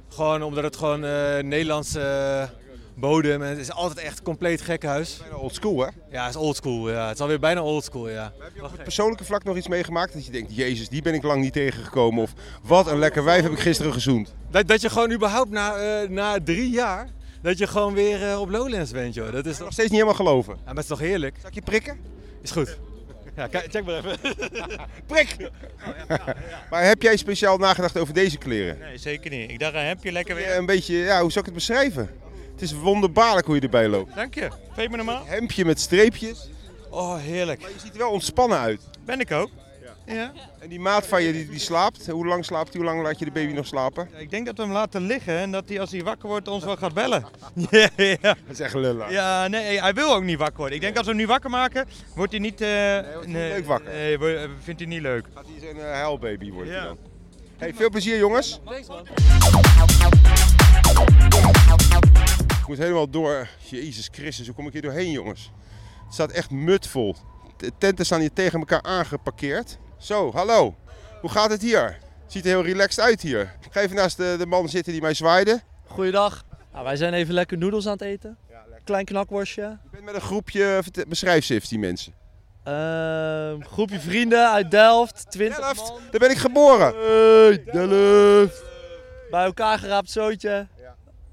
Gewoon omdat het gewoon eh, Nederlandse eh, bodem en het is altijd echt compleet gekhuis.
Bijna old school, hè?
Ja, het is old school. Ja. Het is alweer bijna old school, ja.
Op het persoonlijke vlak nog iets meegemaakt dat je denkt, jezus, die ben ik lang niet tegengekomen. Of wat een lekker wijf heb ik gisteren gezoend.
Dat, dat je gewoon überhaupt na, eh, na drie jaar, dat je gewoon weer eh, op Lowlands bent, joh. Dat is toch...
Steeds niet helemaal geloven.
Ja, maar het is toch heerlijk? Zal
ik je prikken?
Is goed. Ja, kijk- check maar even.
Prik! Maar heb jij speciaal nagedacht over deze kleren?
Nee, zeker niet. Ik dacht, heb je lekker
Ja, Een beetje, ja, hoe zou ik het beschrijven? Het is wonderbaarlijk hoe je erbij loopt.
Dank je. Vind je me normaal?
Hemdje met streepjes.
Oh, heerlijk.
Maar je ziet er wel ontspannen uit.
Ben ik ook.
Ja.
En die maat van je die, die slaapt, hoe lang slaapt hij? Hoe lang laat je de baby nog slapen?
Ik denk dat we hem laten liggen en dat hij als hij wakker wordt ons wel gaat bellen.
Ja, ja. Dat
is echt lullig.
Ja, nee, hij wil ook niet wakker worden. Ik denk als we hem nu wakker maken, wordt hij niet... eh,
leuk wakker.
Nee, wo- eh, vindt hij niet leuk.
Gaat hij zo'n eh, huilbaby worden
Ja.
dan? Hey, veel plezier jongens. Ik moet helemaal door. Jezus Christus, hoe kom ik hier doorheen, jongens? Het staat echt mutvol. De tenten staan hier tegen elkaar aangeparkeerd. Zo, hallo. Hoe gaat het hier? Ziet er heel relaxed uit hier. Ik ga even naast de, de man zitten die mij zwaaide.
Goeiedag. Nou, wij zijn even lekker noedels aan het eten. Klein knakworstje.
Ik ben met een groepje, vert- beschrijf ze even die mensen.
Ehm, groepje vrienden uit Delft. 20 Delft,
daar ben ik geboren.
Hey, Delft. Bij elkaar geraapt zootje.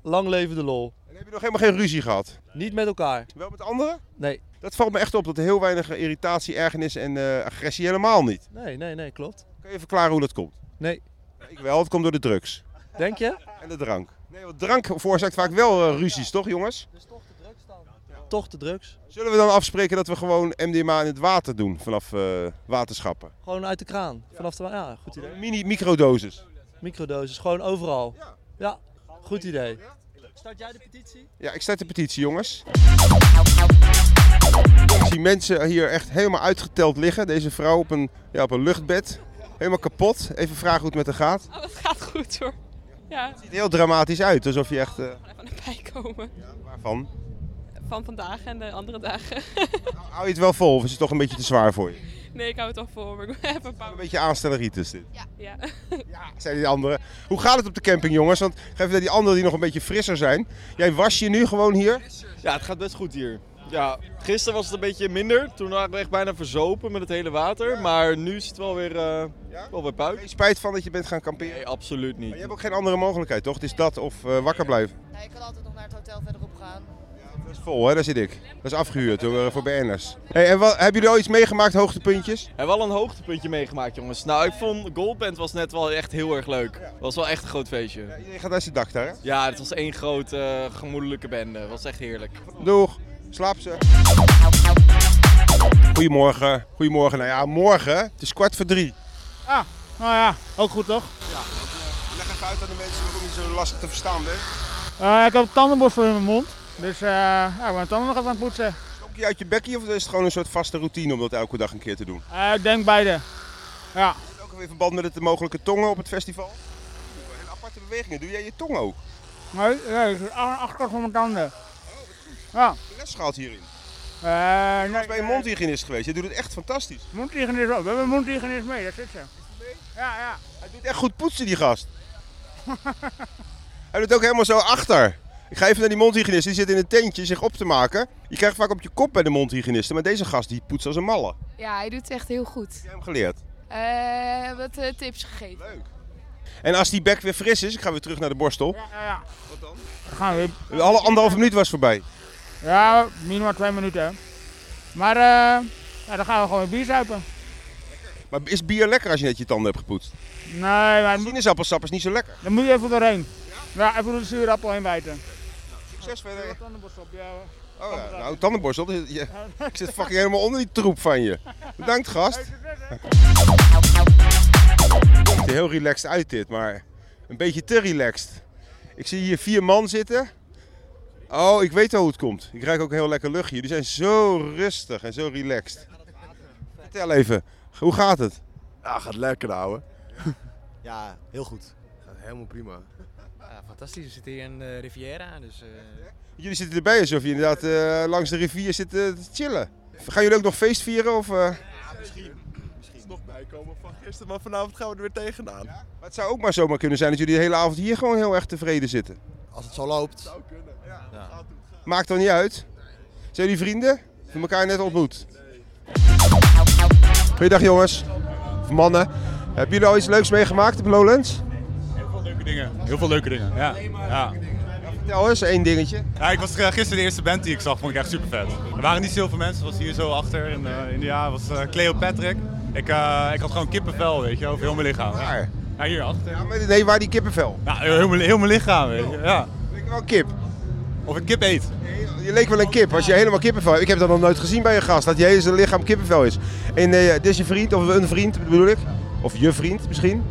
Lang leven de lol.
En heb je nog helemaal geen ruzie gehad?
Niet met elkaar.
Wel met anderen?
Nee.
Dat valt me echt op, dat er heel weinig irritatie, ergernis en eh, agressie helemaal niet.
Nee, nee, nee, klopt.
Kun je verklaren hoe dat komt?
Nee.
Ik wel, het komt door de drugs.
Denk je?
En de drank. Nee, want drank veroorzaakt vaak wel eh, ruzies, toch jongens?
Toch de drugs.
Zullen we dan afspreken dat we gewoon MDMA in het water doen vanaf eh, waterschappen?
Gewoon uit de kraan. Vanaf de... Ja, goed idee.
Mini microdosis.
Microdoses, gewoon overal. Ja. Goed idee. Start jij de petitie?
Ja, ik start de petitie, jongens. Ik zie mensen hier echt helemaal uitgeteld liggen. Deze vrouw op een, ja, op een luchtbed. Helemaal kapot. Even vragen hoe het met haar gaat. Het
Oh, het gaat goed hoor. Ja,
ziet er heel dramatisch uit, alsof je echt... eh,
van erbij komen.
waarvan?
Van vandaag en de andere dagen.
Hou je het wel vol of is het toch een beetje te zwaar voor je?
Nee, ik hou het toch voor. Maar ik heb een paar.
Een beetje aanstelleritis dit.
Ja.
Zijn die anderen. Hoe gaat het op de camping, jongens? Want geef even naar die anderen die nog een beetje frisser zijn. Jij was je nu gewoon hier.
Ja, het gaat best goed hier. Ja, gisteren was het een beetje minder. Toen waren we echt bijna verzopen met het hele water. Maar nu is het wel weer, eh wel weer puik.
Geen spijt van dat je bent gaan kamperen?
Nee, absoluut niet.
Je hebt ook geen andere mogelijkheid, toch? Het is dat of eh, wakker blijven.
Nou, je kan altijd nog naar het hotel verderop gaan.
Dat is vol, hè? Daar zit ik. Dat is afgehuurd door, eh, voor BN'ers. Hey, en wat, hebben jullie al iets meegemaakt, hoogtepuntjes?
Hebben we al een hoogtepuntje meegemaakt, jongens? Nou, ik vond Goldband was net wel echt heel erg leuk. Was wel echt een groot feestje.
Je gaat uit zijn dak daar, hè?
Ja, het was één grote eh, gemoedelijke bende. Was echt heerlijk.
Doeg, slaap ze. Goedemorgen. Goedemorgen. Nou ja, morgen. Het is kwart voor drie.
Ah, nou ja, ook goed toch?
Leg even uit aan de mensen waarom je zo lastig te verstaan bent.
Eh, ik heb een tandenborstel in mijn mond, dus eh ja, ik ben mijn tanden nog even aan het poetsen.
Ook je uit je bekkie of is het gewoon een soort vaste routine om dat elke dag een keer te doen?
Eh, ik denk beide. Ja.
Ook weer in verband met het de mogelijke tongen op het festival? En aparte bewegingen. Doe jij je tong ook?
Nee, nee, ik zit aan de achterkant van mijn
Oh,
tanden. Ja.
De les schaalt hierin.
Eh, nee,
Ik was bij een mondhygiënist geweest. Je doet het echt fantastisch.
mondhygiënist wel. We hebben een mondhygiënist mee, dat zit ze. Ja, ja.
Hij doet echt goed poetsen, die gast. Hij doet ook helemaal zo achter. Ik ga even naar die mondhygiënist. Die zit in een tentje zich op te maken. Je krijgt vaak op je kop bij de mondhygiënisten. Maar deze gast die poetst als een malle.
Ja, hij doet het echt heel goed.
Hem geleerd.
Eh, wat eh, tips gegeven.
Leuk. En als die bek weer fris is, ik ga weer terug naar de borstel.
Ja, ja. Dan gaan we.
Alle anderhalve minuut was voorbij.
Ja, minimaal twee minuten. Maar eh, ja, dan gaan we gewoon weer bier zuipen.
Maar is bier lekker als je net je tanden hebt gepoetst?
Nee, maar
Sinaasappelsap is niet zo lekker.
dan moet je even doorheen. Ja, even door de zuurappel heen bijten.
Succes verder.
Tandenborstel op jou.
Oh ja, nou, tandenborstel. dat is- je- ik zit fucking helemaal onder die troep van je. Bedankt, gast. Het ziet er heel relaxed uit dit, maar een beetje te relaxed. Ik zie hier vier man zitten. Oh, ik weet al hoe het komt. Ik ruik ook heel lekker luchtje. Jullie zijn zo rustig en zo relaxed. Vertel even, hoe gaat het?
Ja, gaat lekker nou, ouwe.
Ja, heel goed. Gaat helemaal prima.
Ja, fantastisch. We zitten hier in de Riviera. Dus, eh,
Jullie zitten erbij alsof je inderdaad eh, langs de rivier zit eh, te chillen. Gaan jullie ook nog feest vieren? Of, eh?
Misschien nog bijkomen van gisteren, maar vanavond gaan we er weer tegenaan.
Maar het zou ook maar zomaar kunnen zijn dat jullie de hele avond hier gewoon heel erg tevreden zitten.
Als het zo loopt. zou kunnen.
Maakt dan niet uit. Zijn jullie vrienden? Hebben we elkaar net ontmoet? Goeiedag jongens. Of mannen. Hebben jullie al iets leuks meegemaakt op Lowlands?
Heel veel leuke dingen. Heel veel leuke dingen. Ja. ja.
Vertel eens één dingetje.
Ja, ik was eh, gisteren de eerste band die ik zag, vond ik echt super vet. Er waren niet zoveel mensen, was hier zo achter in, eh, in de ja, was eh, Cleo Patrick. Ik, eh, ik had gewoon kippenvel, weet je, over heel mijn lichaam. Waar? Ja, hier achter. Ja,
Nee, waar die kippenvel?
Nou, heel, mijn- heel mijn lichaam, weet je. Ja.
Leek wel kip.
Of een kip eet.
Je leek wel een kip. Als je helemaal kippenvel hebt. Ik heb dat nog nooit gezien bij een gast. Dat je hele zijn lichaam kippenvel is. En eh, dit is je vriend, of een vriend bedoel ik. Of je vriend misschien.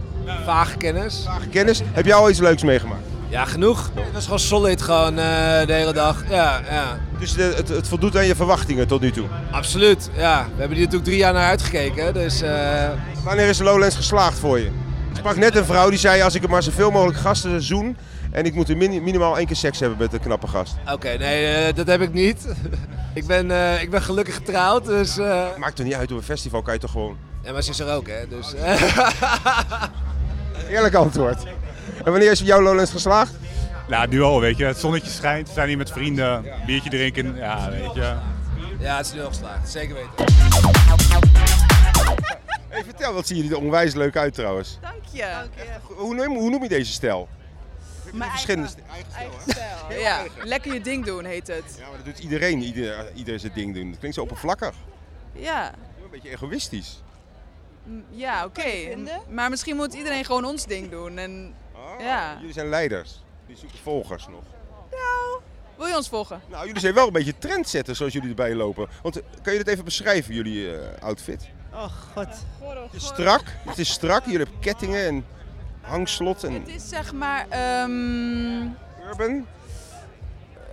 Vaag kennis.
Vage kennis. Heb jij al iets leuks meegemaakt?
Ja, genoeg. Het was gewoon solid gewoon eh, de hele dag. Ja, ja.
Dus de- het, het voldoet aan je verwachtingen tot nu toe.
Absoluut, ja. We hebben hier natuurlijk drie jaar naar uitgekeken, dus... eh,
Wanneer is Lowlands geslaagd voor je? Ik sprak net een vrouw die zei: als ik er maar zoveel mogelijk gasten zoen. en ik moet er mini- minimaal één keer seks hebben met een knappe gast.
Oké, nee, eh, dat heb ik niet. ik, ben, eh, ik ben gelukkig getrouwd, dus... eh,
Maakt toch niet uit, op een festival kan je toch gewoon.
Ja, maar ze is er ook, hè, dus...
Eerlijk antwoord. En wanneer is jouw Lowlands geslaagd?
Nou, nu al, weet je. Het zonnetje schijnt, we zijn hier met vrienden, biertje drinken. Ja, weet je.
ja, het is nu al geslaagd, zeker weten.
Hey, vertel, wat zien jullie er onwijs leuk uit trouwens?
Dank je.
Hoe noem, hoe noem je deze stijl? Mijn verschillende stijl.
Ja, lekker je ding doen heet het.
Dat doet iedereen, ieder, ieder zijn ding doen. Dat klinkt zo oppervlakkig.
Ja,
Een beetje egoïstisch.
m- ja oké. Maar misschien moet iedereen gewoon ons ding doen. En,
Oh.
ja.
Jullie zijn leiders. Jullie zoeken volgers nog.
Wil je ons volgen?
Nou, jullie zijn wel een beetje trendsetters zoals jullie erbij lopen. Want eh, kan je dat even beschrijven, jullie eh, outfit?
Oh god.
Strak, het is strak. Jullie hebben kettingen en hangslot. En...
Het is zeg maar... ehm,
Urban?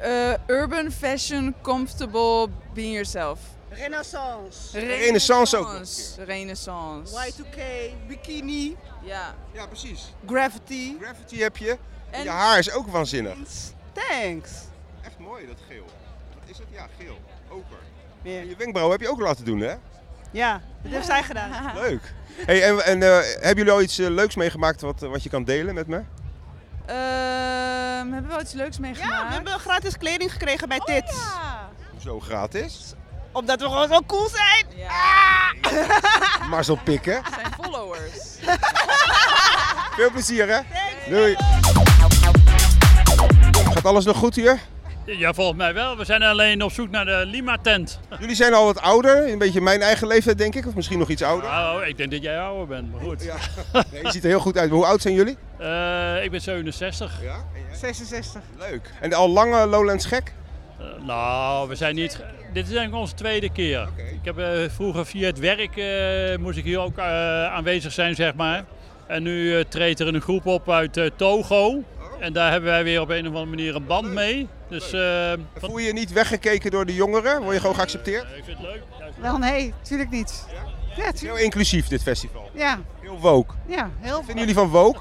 eh, urban fashion comfortable being yourself.
Renaissance.
Renaissance ook nog
Renaissance.
Y2K, bikini.
Ja.
Ja, precies.
Gravity.
Gravity heb je. Je haar is ook waanzinnig.
Thanks.
Echt mooi, dat geel. Wat is het? Ja, geel. Oker. Je wenkbrauwen heb je ook laten doen, hè?
Ja, dat heeft zij gedaan.
Leuk. Hey, en en eh, hebben jullie al iets eh, leuks meegemaakt wat, eh, wat je kan delen met me?
Ehm, hebben we wel iets leuks meegemaakt? Oh
Ja, we hebben gratis kleding gekregen bij Tits.
Zo gratis.
Omdat we gewoon zo cool zijn.
Marcel Pikken.
Zijn followers.
Ah!
Veel plezier, hè? Doei. Gaat alles nog goed hier?
Ja, volgens mij wel. We zijn alleen op zoek naar de Lima-tent.
Jullie zijn al wat ouder, een beetje mijn eigen leeftijd denk ik, of misschien nog iets ouder.
Nou, ik denk dat jij ouder bent, maar goed.
Nee, je ziet er heel goed uit. Maar Hoe oud zijn jullie?
Eh, ik ben 67.
66.
Leuk. En al lang eh, Lowlands gek?
Eh, nou, we zijn niet... Dit is eigenlijk onze tweede keer. Ik heb eh, vroeger via het werk eh, moest ik hier ook eh, aanwezig zijn, zeg maar. En nu eh, treedt er een groep op uit eh,
Oh.
Togo. En daar hebben wij weer op een of andere manier een band mee. Dus,
Voel je je niet weggekeken door de jongeren? Word je gewoon geaccepteerd?
ik vind het leuk.
Wel nee, natuurlijk niet. Ja,
Heel
tuurlijk.
inclusief dit festival.
Ja,
Heel woke.
ja heel
Vinden jullie van woke?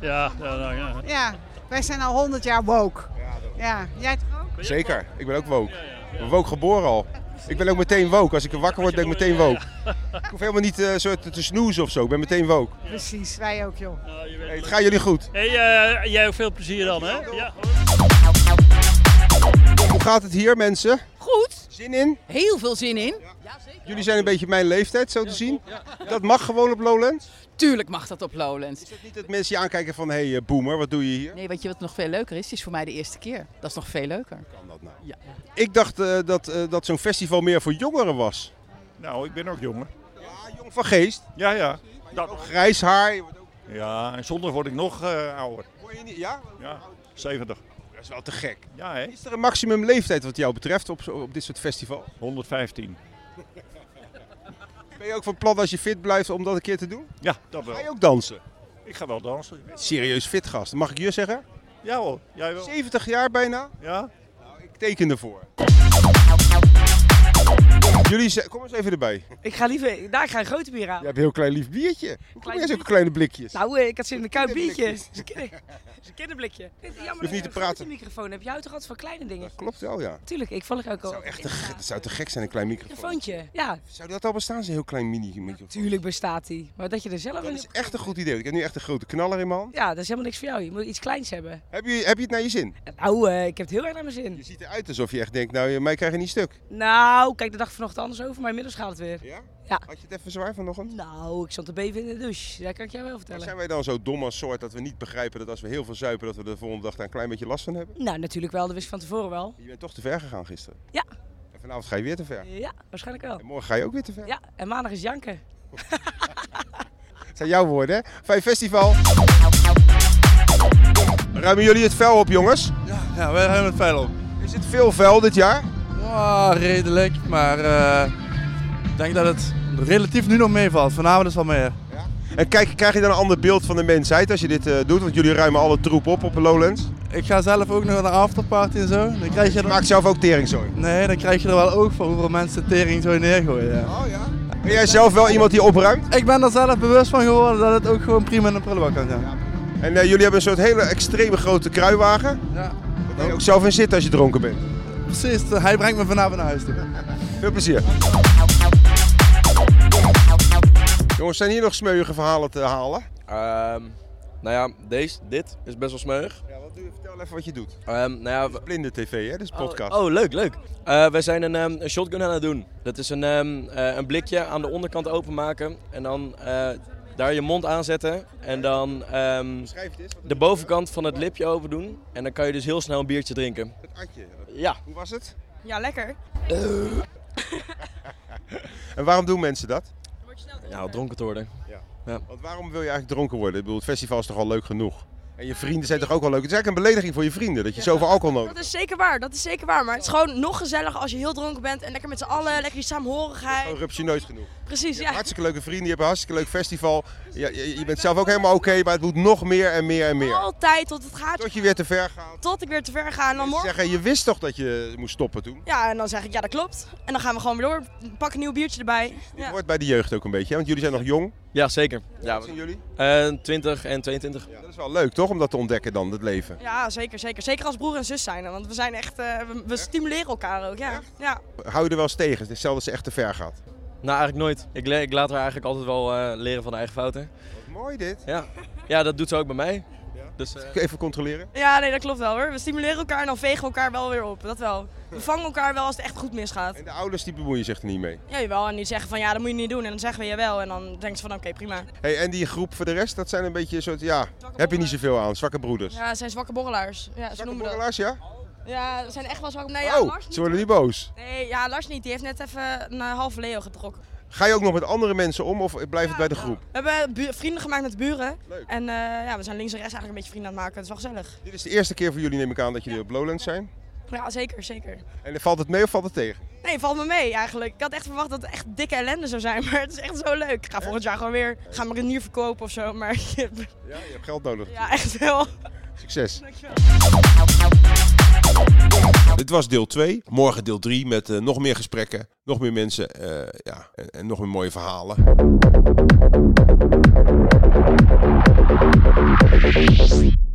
Ja, ja, nou, ja.
Ja, wij zijn al 100 jaar woke. Ja, jij toch ook?
Zeker, ik ben ook woke. Ik ben woke geboren al. Ik ben ook meteen woke. Als ik er wakker word, ben ik meteen woke. Ik hoef helemaal niet eh, zo te, te snoezen of zo. Ik ben meteen woke.
Precies, wij ook joh.
Hey, het gaat jullie goed.
Hey, eh, jij ook veel plezier dan, hè? Ja.
Hoe gaat het hier, mensen?
Goed.
Zin in?
Heel veel zin in.
Jullie zijn een beetje mijn leeftijd, zo te zien. Dat mag gewoon op Lowlands.
Tuurlijk mag dat op Lowlands.
Niet dat mensen je aankijken van, hé hey, eh, boomer, wat doe je hier?
Nee, weet je wat nog veel leuker is? Het is voor mij de eerste keer. Dat is nog veel leuker.
Kan dat nou?
Ja.
Ik dacht eh, dat, eh, dat zo'n festival meer voor jongeren was.
Nou, ik ben ook jonger.
jong van geest.
Ja, ja. Dat
grijs haar.
Ja, en zondag word ik nog eh, ouder.
je niet, ja?
Ja, 70.
Oh, Dat is wel te gek.
Ja, hè?
Is er een maximum leeftijd wat jou betreft op, zo- op dit soort festival?
115.
Ben je ook van plan als je fit blijft om dat een keer te doen?
Ja, dat wel.
Ga je ook dansen?
Ik ga wel dansen.
Serieus fit gast, mag ik je zeggen?
Ja hoor, jij wel.
70 jaar bijna?
Ja.
Ik teken ervoor. Jullie, ze- kom eens even erbij.
Ik ga liever, daar ga een grote bier aan.
Je hebt een heel klein lief biertje. Hoe kom
Klein
jij zulke kleine blikjes?
Nou, eh, ik had zin in een koud biertje.
Kinderblikjes.
Het is een kinder- het is een kinderblikje. Vind je
Hoef niet te praten.
Een microfoon heb jij houdt toch altijd van kleine dingen?
Klopt wel, ja.
Tuurlijk, ik volg ook al. Zo
Echt te gek- Het zou te gek zijn, een klein microfoon.
Microfoontje, ja.
Zou dat al bestaan, zo'n heel klein mini-microfoon?
Tuurlijk bestaat die. Maar dat je er zelf
Dat
een-
is echt een goed idee. Ik heb nu echt een grote knaller in mijn hand.
Ja, dat is helemaal niks voor jou. Je moet iets kleins hebben.
Heb je, heb je het naar je zin?
Nou, eh, ik heb het heel erg naar mijn zin.
Het ziet eruit alsof je echt denkt, nou, je- eh, mij krijg je niet stuk.
Nou, kijk, de dag vanochtend
het anders over, maar inmiddels gaat het weer.
Ja?
Ja.
Had je het even zwaar vanochtend?
Nou, ik stond te beven in de douche. Dat kan ik jou wel
Maar
vertellen.
zijn wij dan zo dom als soort dat we niet begrijpen dat als we heel veel zuipen, dat we de volgende dag daar een klein beetje last van hebben?
Nou, natuurlijk wel. Dat wist ik van tevoren wel.
Je bent toch te ver gegaan gisteren?
Ja.
En vanavond ga je weer te ver.
Ja, waarschijnlijk wel. En
morgen ga je ook weer te ver.
Ja, en maandag is janken.
Het zijn jouw woorden, hè? Fijn festival. Ruimen jullie het vuil op, jongens? Ja, ja we ruimen het vuil op. Is het veel vuil dit jaar?
Ja, redelijk, maar eh, ik denk dat het relatief nu nog meevalt. Vanavond is wel meer.
En kijk, krijg je dan een ander beeld van de mensheid als je dit eh, doet? Want jullie ruimen alle troep op op Lowlands.
Ik ga zelf ook nog naar een afterparty en zo. Dan krijg je er...
Maak zelf ook teringzooi.
Nee, dan krijg je er wel oog voor hoeveel mensen tering zo neergooien. Ja. Oh ja?
Ben jij zelf wel iemand die opruimt?
Ik ben er zelf bewust van geworden dat het ook gewoon prima in een prullenbak kan zijn.
En eh, jullie hebben een soort hele extreme grote kruiwagen.
Ja.
Daar kan je ook zelf in zitten als je dronken bent.
Precies, Dus hij brengt me vanavond naar huis toe.
Veel plezier. Jongens, zijn hier nog smeuïge verhalen te halen?
nou ja, deze, dit is best wel smeuig.
Ja, wat doe je? Vertel even wat je doet.
Ehm nou ja,
blinde tv, hè? Dit is podcast.
Oh, leuk, leuk. Eh wij zijn een, ehm, een shotgun aan het doen. Dat is een, ehm, eh, een blikje aan de onderkant openmaken en dan eh, daar je mond aan zetten. En dan ehm, de bovenkant van het lipje open doen. En dan kan je dus heel snel een biertje drinken.
Atje.
Ja.
Hoe was het?
Ja, lekker.
En waarom doen mensen dat?
Ja, dronken te worden.
Ja. Want waarom wil je eigenlijk dronken worden? Ik bedoel, het festival is toch al leuk genoeg? En je vrienden zijn toch ook al leuk? Het is eigenlijk een belediging voor je vrienden dat je zoveel alcohol nodig
Dat is zeker waar, dat is zeker waar. Maar het is gewoon nog gezellig als je heel dronken bent en lekker met z'n allen, lekker je saamhorigheid.
hebt. Rupsje nooit genoeg.
Precies,
Je hebt
ja.
hartstikke leuke vrienden, je hebt een hartstikke leuk festival. Ja, je, je bent zelf ook helemaal oké, maar het moet nog meer en meer en
Oh.
meer.
Altijd tot het gaat.
Tot je weer te ver gaat.
Tot ik weer te ver ga en dan
Ze
morgen.
zeggen, je wist toch dat je moest stoppen toen?
Ja, en dan zeg ik ja, dat klopt. En dan gaan we gewoon weer door. Pak een nieuw biertje erbij. Ja.
Hoort bij de jeugd ook een beetje, hè? want jullie zijn nog jong.
Ja, zeker. Ja,
zijn jullie?
20 Eh, en 22.
Dat is wel leuk toch, om dat te ontdekken dan, het leven.
Ja, zeker, zeker. Zeker als broer en zus zijn. Want we zijn echt, eh, we, we stimuleren elkaar ook. Ja. ja.
Hou je er wel eens tegen, Het is zelden als ze echt te ver gaat.
Nou, eigenlijk nooit. Ik, le- ik laat haar eigenlijk altijd wel eh, leren van haar eigen fouten.
Mooi dit.
Ja, ja dat doet ze ook bij mij. Dus,
eh, Even controleren.
Ja, nee, dat klopt wel hoor. We stimuleren elkaar en dan vegen we elkaar wel weer op. Dat wel. We vangen elkaar wel als het echt goed misgaat.
De ouders die bemoeien zich er niet mee.
Ja, jawel. En die zeggen van ja, dat moet je niet doen. En dan zeggen we jawel. En dan denken ze van oké, prima.
Hey, en die groep voor de rest, dat zijn een beetje een soort, ja, heb je niet zoveel aan, zwakke broeders.
Ja, ze zijn zwakke borrelaars. Ja, ze noemen
borrelaars, ja?
Ja, ze zijn echt wel zwak. Nee, ja,
oh,
Lars niet.
ze worden niet boos.
Nee, ja, Lars niet. Die heeft net even een eh, halve Leo getrokken.
Ga je ook nog met andere mensen om of blijft het bij de groep?
We hebben eh, bu- vrienden gemaakt met de buren. En eh, ja, we zijn links en rechts eigenlijk een beetje vrienden aan het maken. Dat is wel gezellig.
Dit is de eerste keer voor jullie, neem ik aan, dat jullie op Lowlands zijn.
Ja, zeker, zeker.
En valt het mee of valt het tegen?
Nee, valt me mee eigenlijk. Ik had echt verwacht dat het echt dikke ellende zou zijn. Maar het is echt zo leuk. Ik ga volgend jaar gewoon weer gaan mijn renier verkopen of zo. Maar
Ja, je hebt geld nodig.
ja, echt wel.
Succes. Dit was deel 2. Morgen deel 3 met eh, nog meer gesprekken, nog meer mensen eh, ja, en, en nog meer mooie verhalen.
Thank you.